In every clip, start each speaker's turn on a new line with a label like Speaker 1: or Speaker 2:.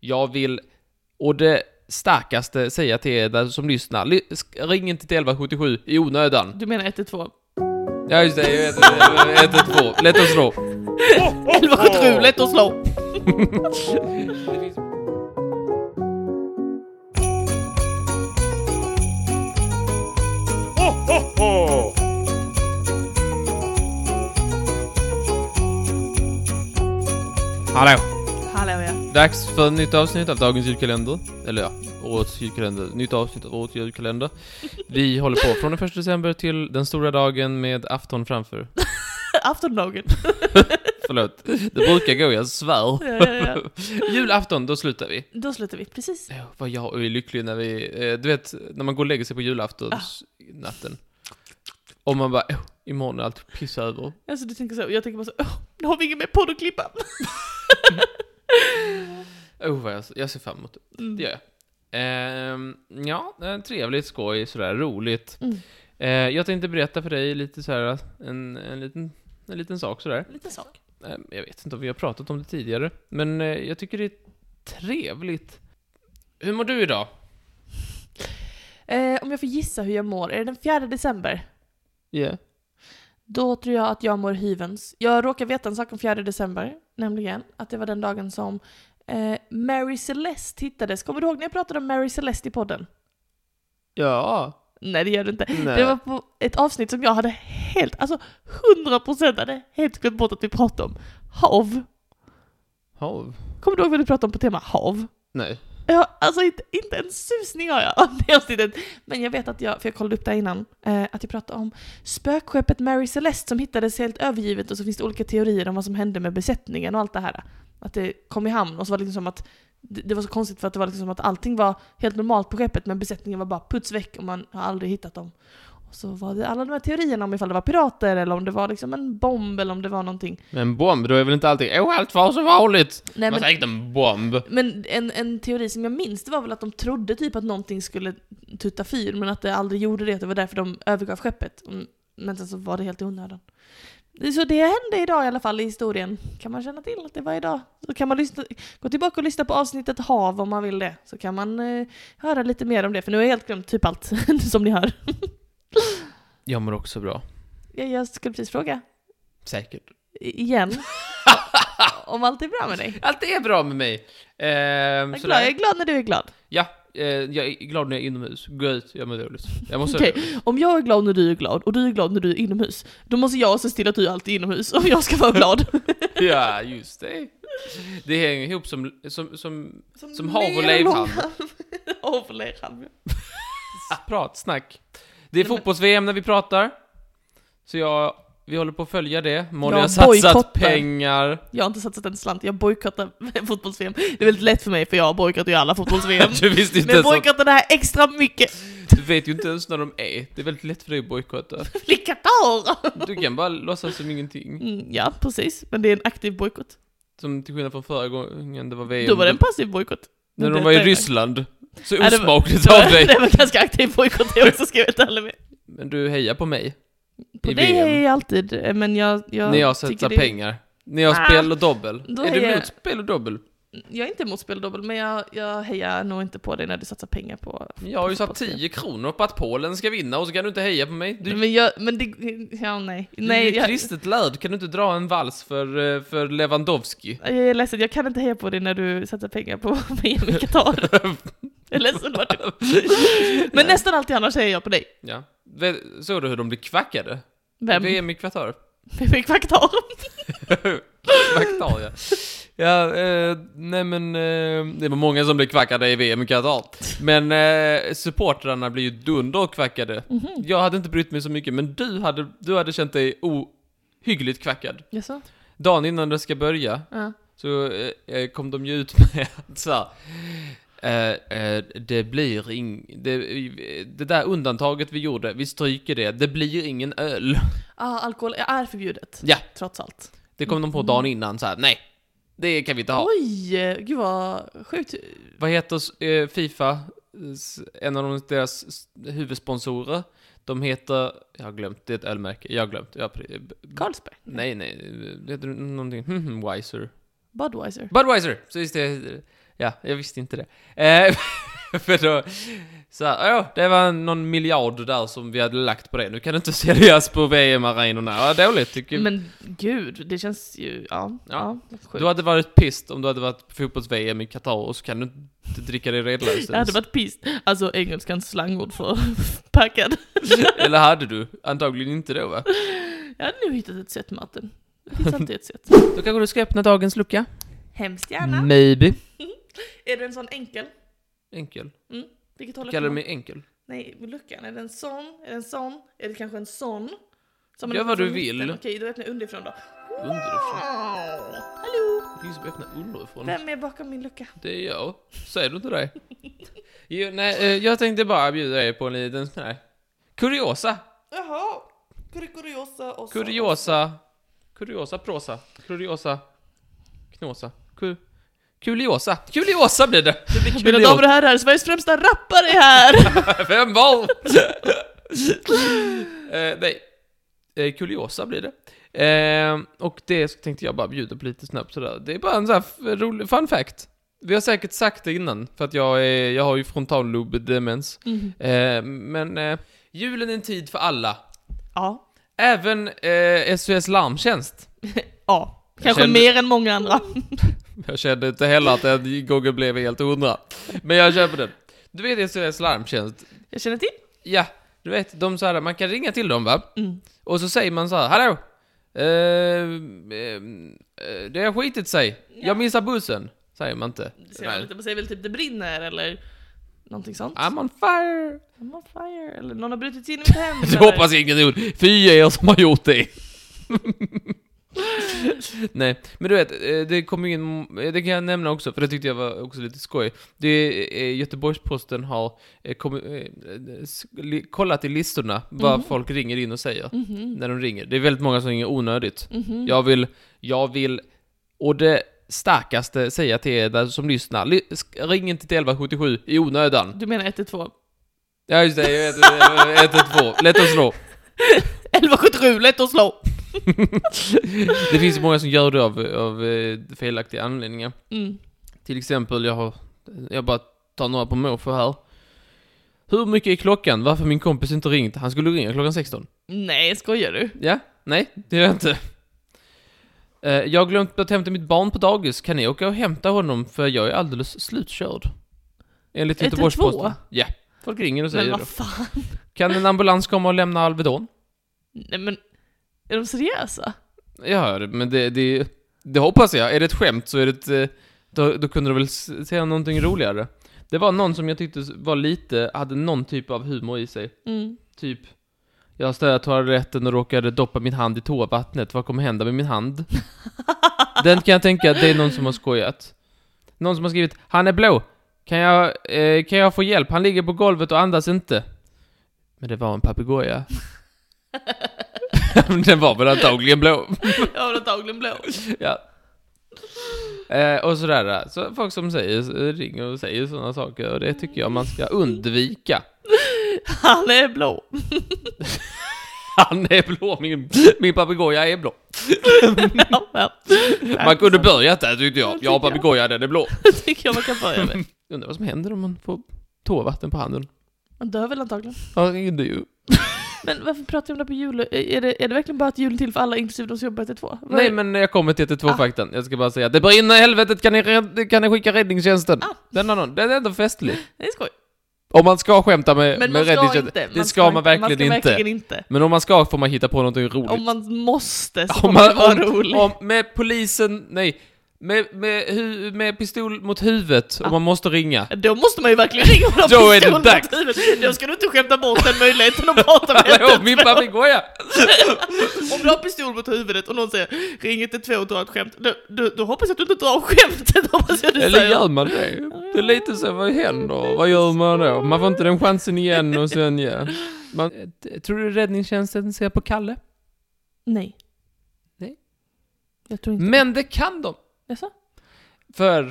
Speaker 1: Jag vill, och det starkaste säga till er där som lyssnar, ly- sk- ring inte till 1177 i onödan.
Speaker 2: Du menar 112?
Speaker 1: Ja just det, jag vet inte, 112, lätt att slå.
Speaker 2: 1177, lätt att slå!
Speaker 1: Hallå!
Speaker 2: Hallå ja.
Speaker 1: Dags för ett nytt avsnitt av dagens julkalender. Eller ja, årets julkalender. Nytt avsnitt av årets julkalender. Vi håller på från den 1 december till den stora dagen med afton framför.
Speaker 2: Aftondagen.
Speaker 1: Förlåt, det brukar gå, jag svär.
Speaker 2: Ja, ja, ja.
Speaker 1: Julafton, då slutar vi.
Speaker 2: Då slutar vi, precis.
Speaker 1: Ja, Eh, Vad jag är lycklig när vi, eh, du vet, när man går och lägger sig på Ah. julaftonsnatten. Och man bara, oh, imorgon är allt piss över.
Speaker 2: Alltså du tänker så, jag tänker bara så, åh, nu har vi ingen mer podd att klippa.
Speaker 1: Oh, vad jag, jag ser fram emot det.
Speaker 2: Mm.
Speaker 1: Det gör jag. Ehm, ja, eh, trevligt, skoj, sådär roligt.
Speaker 2: Mm.
Speaker 1: Eh, jag tänkte berätta för dig lite så här, en, en, liten, en liten sak sådär.
Speaker 2: Liten sak.
Speaker 1: Eh, jag vet inte om vi har pratat om det tidigare, men eh, jag tycker det är trevligt. Hur mår du idag?
Speaker 2: Eh, om jag får gissa hur jag mår, är det den 4 december?
Speaker 1: Yeah.
Speaker 2: Då tror jag att jag mår hyvens. Jag råkar veta en sak om 4 december, nämligen att det var den dagen som eh, Mary Celeste hittades. Kommer du ihåg när jag pratade om Mary Celeste i podden?
Speaker 1: Ja.
Speaker 2: Nej det gör du inte.
Speaker 1: Nej.
Speaker 2: Det var på ett avsnitt som jag hade helt, alltså 100% hade helt glömt bort att vi pratade om. Hav.
Speaker 1: Hov.
Speaker 2: Kommer du ihåg vad du pratade om på tema hav?
Speaker 1: Nej.
Speaker 2: Ja, alltså inte, inte en susning har jag om det avsnittet. Men jag vet att jag, för jag kollade upp det här innan, eh, att jag pratade om spökskeppet Mary Celeste som hittades helt övergivet och så finns det olika teorier om vad som hände med besättningen och allt det här. Att det kom i hamn och så var det liksom som att det, det var så konstigt för att det var liksom som att allting var helt normalt på skeppet men besättningen var bara puts väck och man har aldrig hittat dem. Och så var det alla de här teorierna om ifall det var pirater eller om det var liksom en bomb eller om det var någonting.
Speaker 1: Men bomb, då är väl inte allting, åh allt var som vanligt!
Speaker 2: Nej,
Speaker 1: Man
Speaker 2: men-
Speaker 1: säkert en bomb.
Speaker 2: Men en, en teori som jag minns det var väl att de trodde typ att någonting skulle tuta fyr men att det aldrig gjorde det. Det var därför de övergav skeppet. Mm, Men sen så var det helt i onödan. Så det hände idag i alla fall i historien. Kan man känna till att det var idag? Så kan man lyssna, gå tillbaka och lyssna på avsnittet hav om man vill det. Så kan man eh, höra lite mer om det för nu har jag helt glömt typ allt som ni hör.
Speaker 1: Jag mår också bra.
Speaker 2: Jag, jag skulle precis fråga
Speaker 1: Säkert.
Speaker 2: i- igen om allt är bra med dig.
Speaker 1: Allt är bra med mig! Ehm,
Speaker 2: Jag är,
Speaker 1: sådär.
Speaker 2: glad, jag är glad när du är glad.
Speaker 1: Ja, eh, jag är glad när jag är inomhus. Gå ut, jag mår dåligt. Jag måste...
Speaker 2: Okej. Om jag är glad när du är glad och du är glad när du är inomhus, då måste jag se till att du alltid är inomhus om jag ska vara glad.
Speaker 1: Ja, just det. Det hänger ihop som, som, som Som hav och leivhamn.
Speaker 2: Hav och leivhamn.
Speaker 1: prat, snack. Det är
Speaker 2: Nej, men-
Speaker 1: fotbolls-VM när vi pratar. Så jag, vi håller på att följa det. Molly
Speaker 2: Jag
Speaker 1: har satsat
Speaker 2: bojkottar.
Speaker 1: pengar.
Speaker 2: Jag har inte satsat en slant, jag bojkottar fotbolls-VM. Det är väldigt lätt för mig för jag bojkottar ju alla fotbolls-VM.
Speaker 1: Du visste inte
Speaker 2: Men
Speaker 1: ens
Speaker 2: jag
Speaker 1: att,
Speaker 2: bojkottar det här extra mycket.
Speaker 1: Du vet ju inte ens när de är. Det är väldigt lätt för dig att bojkotta.
Speaker 2: Vilka dagar!
Speaker 1: Du kan bara låtsas som ingenting.
Speaker 2: Mm, ja, precis. Men det är en aktiv bojkott.
Speaker 1: Som till skillnad från förra gången det var VM.
Speaker 2: Då var det en passiv bojkott.
Speaker 1: När de
Speaker 2: Det-
Speaker 1: var i
Speaker 2: det-
Speaker 1: Ryssland. Så
Speaker 2: Ja, det var-
Speaker 1: osmakligt
Speaker 2: det var-
Speaker 1: av dig.
Speaker 2: Det var en ganska aktiv bojkott jag också ska jag vara helt ärlig med.
Speaker 1: Men du hejar på mig.
Speaker 2: På
Speaker 1: I
Speaker 2: dig
Speaker 1: VM.
Speaker 2: är jag alltid, eh, men jag... jag
Speaker 1: när jag
Speaker 2: tycker
Speaker 1: satsar
Speaker 2: det-
Speaker 1: pengar. När jag
Speaker 2: Ah,
Speaker 1: spelar dobbel.
Speaker 2: då
Speaker 1: Är du
Speaker 2: hejar jag.
Speaker 1: emot spel och dobbel?
Speaker 2: Jag är inte emot spel och dobbel, men jag, jag hejar nog inte på dig när du satsar pengar på...
Speaker 1: Jag har ju satt
Speaker 2: fotbollsspel.
Speaker 1: 10 kronor på att Polen ska vinna och så kan du inte heja på mig. Du,
Speaker 2: Men jag, men det... Ja, nej.
Speaker 1: nej,
Speaker 2: Nej,
Speaker 1: du är ju
Speaker 2: jag,
Speaker 1: kristet lärd, kan du inte dra en vals för, eh, för Lewandowski?
Speaker 2: jag är ledsen, jag kan inte heja på dig när du satsar pengar på VM i Qatar. jag är ledsen Martin. Men nästan alltid annars hejar jag på dig.
Speaker 1: Ja. Vet- Såg du hur de blev kvackade?
Speaker 2: Vem? VM
Speaker 1: VM i kvartar.
Speaker 2: i Qatar.
Speaker 1: Kvartar, ja. ja eh, nej men, eh, det var många som blev kvackade i VM i Qatar. Men eh, supportrarna blir ju dunderkvackade.
Speaker 2: Mhm.
Speaker 1: Jag hade inte brytt mig så mycket, men du hade, du hade känt dig ohyggligt kvackad.
Speaker 2: Jaså?
Speaker 1: Dagen innan det ska börja,
Speaker 2: Ja.
Speaker 1: Så eh, eh, kom de ju ut med att så här, eh, eh, det blir ing, det, eh, det där undantaget vi gjorde, vi stryker det, det blir ingen öl.
Speaker 2: Ah, alkohol är förbjudet.
Speaker 1: Ja.
Speaker 2: Trots allt.
Speaker 1: Det kom de på dagen innan så här, nej, det kan vi inte ha.
Speaker 2: Oj, gud vad sjukt.
Speaker 1: Vad heter eh, Fifa, s- en av de- deras s- huvudsponsorer? De heter, jag har glömt, det är ett ölmärke, jag har glömt. Jag, har pre- b-
Speaker 2: Carlsberg?
Speaker 1: nej, nej, det heter någonting, hmm, hmm, hm, Wiser.
Speaker 2: Budweiser?
Speaker 1: Budweiser! Så just det, Ja, jag visste inte det. Eh, för då, så här, ja, det var någon miljard där som vi hade lagt på det. Nu kan du inte seriöst på VM-arenorna. Ja, dåligt tycker jag.
Speaker 2: Men gud, det känns ju... Ja, ja. sjukt.
Speaker 1: Du hade varit pissed om du hade varit på fotbolls-VM i Qatar och så kan du inte dricka dig redlös
Speaker 2: Det hade
Speaker 1: ens.
Speaker 2: varit pist. Alltså engelskans slangord för packad.
Speaker 1: Eller hade du? Antagligen inte då va?
Speaker 2: Jag hade nu hittat ett sätt, Martin. Det finns alltid ett sätt.
Speaker 1: Då kanske du ska öppna dagens lucka?
Speaker 2: Hemskt gärna.
Speaker 1: Maybe.
Speaker 2: Är den sån enkel?
Speaker 1: Enkel.
Speaker 2: Vilket håll
Speaker 1: Kallar
Speaker 2: öppnar
Speaker 1: du
Speaker 2: man?
Speaker 1: mig enkel?
Speaker 2: Nej, luckan. Är den sån? Är den sån? Är det kanske en sån? Som
Speaker 1: Gör
Speaker 2: en-
Speaker 1: vad du
Speaker 2: från mitten.
Speaker 1: vill.
Speaker 2: Okej, då öppnar jag underifrån då.
Speaker 1: Underifrån?
Speaker 2: Wow! Hallå!
Speaker 1: Det finns ju att öppna underifrån.
Speaker 2: Vem är bakom min lucka?
Speaker 1: Det är jag. Säger du inte det? Jo, nej, eh, jag tänkte bara bjuda dig på en liten sån här kuriosa.
Speaker 2: Jaha! Kuriosa och så.
Speaker 1: Kuriosa. Kuriosa prosa. Kuriosa. Knåsa. Ku, kuliosa. Kuliosa blir det. Det blir
Speaker 2: Mina damer
Speaker 1: kuliosa.
Speaker 2: och herrar, Sveriges främsta rappare är här!
Speaker 1: Fem boll! eh, nej. Eh, kuliosa blir det. Eh, och det tänkte jag bara bjuda på lite snabbt sådär. Det är bara en sån här f- rolig fun fact. Vi har säkert sagt det innan, för att jag, är, jag har ju frontallobdemens. Eh, men eh, julen är en tid för alla.
Speaker 2: Ja.
Speaker 1: Även eh, SOS Larmtjänst.
Speaker 2: Ja. Kanske
Speaker 1: kände-
Speaker 2: mer än många andra.
Speaker 1: Jag kände inte heller att den gången blev helt hundra. Men jag köper den. Du vet SOS Larmtjänst?
Speaker 2: Jag känner till.
Speaker 1: Ja, du vet, de så här, man kan ringa till dem va?
Speaker 2: Mm.
Speaker 1: Och så säger man så här, hallå! Eh, eh, eh, det har skitit sig. Jag missar bussen. Säger man inte.
Speaker 2: Det ser man lite, man säger väl typ det brinner eller någonting sånt.
Speaker 1: I'm on fire!
Speaker 2: I'm on fire, eller någon har brutit sig in i mitt hem.
Speaker 1: Det hoppas jag ingen gjort. Fy er som har gjort det. Nej, men du vet, eh, det kom ju in, eh, det kan jag nämna också, för det tyckte jag var också lite skoj. Det är, eh, Göteborgsposten har eh, kom, eh, s- li, kollat i listorna vad
Speaker 2: Mhm.
Speaker 1: folk ringer in och säger när de ringer. Det är väldigt många som ringer onödigt.
Speaker 2: mhm.
Speaker 1: Jag vill, jag vill, och det starkaste säga till er där som lyssnar, ly, sk- ring inte till 1177 i onödan.
Speaker 2: Du menar 112?
Speaker 1: Ja just det, jag vet, jag vet, 112, lätt att slå.
Speaker 2: 1177, lätt att slå!
Speaker 1: Det finns ju många som gör det av, av eh, felaktiga anledningar.
Speaker 2: Mm.
Speaker 1: Till exempel, jag har, jag bara tar några på måfå här. Hur mycket är klockan? Varför har min kompis inte ringt? Han skulle ringa klockan 16.
Speaker 2: Nej, skojar du?
Speaker 1: Ja? Nej, det gör jag inte. Eh, Jag har glömt att hämta mitt barn på dagis. Kan ni åka och hämta honom? För jag är alldeles slutkörd. Enligt
Speaker 2: 112?
Speaker 1: Göteborgs-Posten. Ja. Folk ringer och
Speaker 2: Men
Speaker 1: säger det.
Speaker 2: vad fan?
Speaker 1: Kan en ambulans komma och lämna Alvedon?
Speaker 2: Nej men, är de seriösa?
Speaker 1: Ja, men det, det, det hoppas jag. Är det ett skämt så är det ett, eh, då, då kunde du väl s- säga någonting roligare. Det var någon som jag tyckte var lite, hade någon typ av humor i sig.
Speaker 2: Mm.
Speaker 1: Typ, jag stödde toaletten och råkade doppa min hand i toavattnet. Vad kommer hända med min hand? Den kan jag tänka att det är någon som har skojat. Någon som har skrivit, han är blå. Kan jag, eh, kan jag få hjälp? Han ligger på golvet och andas inte. Men det var en papegoja. Den var väl antagligen blå.
Speaker 2: Jag har antagligen blå.
Speaker 1: Ja. Eh, och sådär. Så folk som säger, ringer och säger sådana saker, och det tycker jag man ska undvika.
Speaker 2: Han är blå.
Speaker 1: Han är blå, min, min papegoja är blå.
Speaker 2: Ja, ja.
Speaker 1: Man kunde börjat där tyckte jag. Ja, papegoja den är blå.
Speaker 2: Det tycker jag man kan börja med.
Speaker 1: Undrar vad som händer om man får toavatten på handen.
Speaker 2: Man dör väl antagligen.
Speaker 1: Ja, det är ju.
Speaker 2: Men varför pratar vi om det på jul? Är det, är det verkligen bara att julen är till för alla, inklusive de som jobbar till två? Vad Ah.
Speaker 1: Nej,
Speaker 2: är-
Speaker 1: men jag kommer till 112-faktan. Jag ska bara säga, det brinner i helvetet, kan ni, rädd- kan ni skicka räddningstjänsten?
Speaker 2: Ah.
Speaker 1: Den, har någon, den är ändå festlig.
Speaker 2: Det är skoj.
Speaker 1: Om man ska skämta med,
Speaker 2: Men
Speaker 1: med
Speaker 2: man ska
Speaker 1: räddningstjänsten.
Speaker 2: inte.
Speaker 1: Eh, Det ska man verkligen
Speaker 2: man ska
Speaker 1: inte.
Speaker 2: Verkligen inte.
Speaker 1: Men om man ska får man hitta på någonting roligt.
Speaker 2: Om man måste så
Speaker 1: Om
Speaker 2: kommer det
Speaker 1: man,
Speaker 2: vara
Speaker 1: om,
Speaker 2: roligt.
Speaker 1: om, med polisen, nej. Med, med, hu, med pistol mot huvudet
Speaker 2: Ah.
Speaker 1: och man måste ringa.
Speaker 2: Då måste man ju verkligen ringa honom
Speaker 1: Då är det
Speaker 2: pistolen
Speaker 1: dags.
Speaker 2: mot huvudet. Då ska du inte skämta bort den möjligheten att prata med
Speaker 1: Hallå,
Speaker 2: henne.
Speaker 1: min papegoja!
Speaker 2: Om du har pistol mot huvudet och någon säger ring 112 och dra ett skämt, då, då, då hoppas jag att du inte drar skämtet. Hoppas jag att du
Speaker 1: Eller
Speaker 2: säger
Speaker 1: gör man det? Det är lite så, vad händer? Vad gör man då? Man får inte den chansen igen och sen ja. Man, Eh, tror du räddningstjänsten ser på Kalle?
Speaker 2: Nej.
Speaker 1: Nej.
Speaker 2: Jag tror inte
Speaker 1: Men det kan de!
Speaker 2: det. Jaså?
Speaker 1: För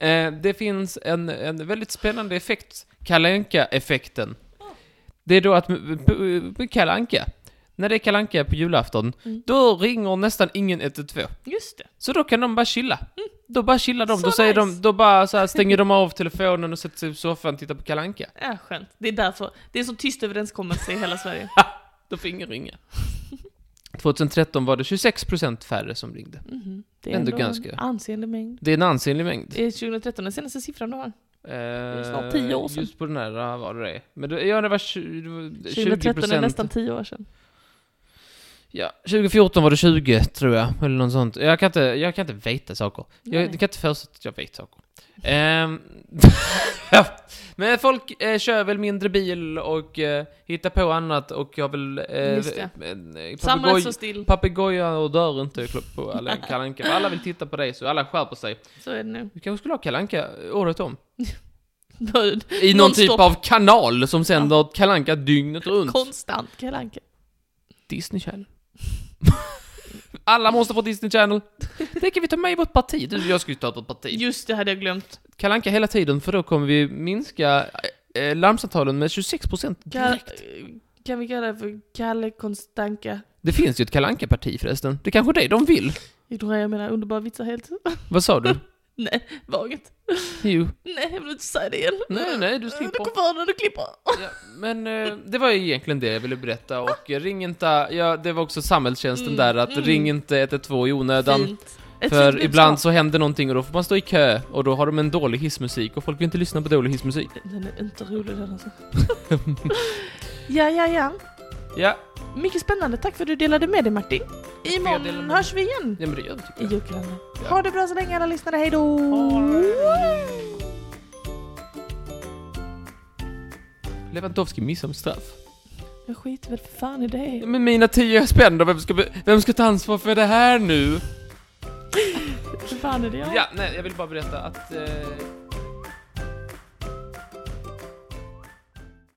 Speaker 1: eh, det finns en, en väldigt spännande effekt, Kalle Anka-effekten. Det är då att m- p- Kalle Anka, när det är Kalle Anka på julafton,
Speaker 2: Mm.
Speaker 1: då ringer nästan ingen 112.
Speaker 2: Just det.
Speaker 1: Så då kan de bara chilla. Då bara chillar de.
Speaker 2: Så
Speaker 1: då säger
Speaker 2: nice.
Speaker 1: de, då bara så här stänger de av telefonen och sätter sig i soffan och tittar på Kalle Anka.
Speaker 2: Ja, skönt. Det är därför. Det är en sån tyst överenskommelse i hela Sverige.
Speaker 1: Då får ingen ringa. 2013 var det 26% färre som ringde.
Speaker 2: Mhm. Det
Speaker 1: Ändå
Speaker 2: en
Speaker 1: ganska.
Speaker 2: ansenlig mängd.
Speaker 1: Det är en ansenlig mängd.
Speaker 2: Är 2013 den senaste siffran du har?
Speaker 1: Det är
Speaker 2: snart tio år sedan.
Speaker 1: Just på den här ja, var det det. Men det, ja, det var 20, det var
Speaker 2: 2013 är
Speaker 1: 20%.
Speaker 2: nästan 10 år sedan.
Speaker 1: Ja, 2014 var det 20 tror jag, eller något sånt. Jag kan inte, jag kan inte veta saker. Jag,
Speaker 2: Nej.
Speaker 1: jag kan inte förutsätta att jag vet saker. Ehm, ja. Men folk eh, kör väl mindre bil och eh, hittar på annat och jag vill... Eh,
Speaker 2: Just det.
Speaker 1: eh,
Speaker 2: Samhället står
Speaker 1: papegoj-
Speaker 2: alltså still.
Speaker 1: Papegojan och dör inte klopp- på alla Kalle Anka. Alla vill titta på dig så alla skärper sig.
Speaker 2: Så är det nu.
Speaker 1: Vi kanske skulle ha Kalle Anka året om.
Speaker 2: Då-
Speaker 1: I någon typ
Speaker 2: Nonstop.
Speaker 1: av kanal som sänder ja. Kalle Anka dygnet runt.
Speaker 2: Konstant Kalle Anka.
Speaker 1: Disney Channel. Alla måste få Disney Channel. Det kan vi ta med i vårt parti. Du, jag ska ju ta vårt parti.
Speaker 2: Just det hade jag glömt.
Speaker 1: Kalle Anka hela tiden, för då kommer vi minska eh, larmsamtalen med 26%
Speaker 2: Ka-
Speaker 1: direkt.
Speaker 2: kan vi kalla det för Kalle Konstanka?
Speaker 1: Det finns ju ett Kalle Anka-parti förresten. Det är kanske är det de vill.
Speaker 2: Jag tror jag menar underbara vitsar helt.
Speaker 1: Vad sa du?
Speaker 2: Nej, vaget.
Speaker 1: Jo.
Speaker 2: Nej, jag vill inte säga det igen.
Speaker 1: Nej, nej, du slipper.
Speaker 2: Du kommer när du klipper.
Speaker 1: Ja, men eh, det var ju egentligen det jag ville berätta och eh, ring inte, ja det var också samhällstjänsten
Speaker 2: Mm,
Speaker 1: där att
Speaker 2: mm.
Speaker 1: ring inte 112 i onödan.
Speaker 2: Fint. Ett
Speaker 1: För
Speaker 2: fint
Speaker 1: ibland
Speaker 2: budskap.
Speaker 1: så händer någonting och då får man stå i kö och då har de en dålig hissmusik och folk vill inte lyssna på dålig hissmusik.
Speaker 2: Den är inte rolig den alltså. ja, ja, ja.
Speaker 1: Ja,
Speaker 2: Mycket spännande. Tack för att du delade med dig Martin.
Speaker 1: jag delade
Speaker 2: Imorgon
Speaker 1: med
Speaker 2: hörs vi igen
Speaker 1: ja men det gör typ. det
Speaker 2: i
Speaker 1: tycker jag.
Speaker 2: julkalendern.
Speaker 1: Ja.
Speaker 2: Ha det bra så länge alla lyssnare. Hej då! Mm.
Speaker 1: Lewandowski missar med straff.
Speaker 2: Jag skiter väl för fan i det.
Speaker 1: Ja, Men mina 10 spänn då, vem ska, be- vem ska ta ansvar för det här nu?
Speaker 2: För fan är det jag?
Speaker 1: Ja, nej jag vill bara berätta att eh,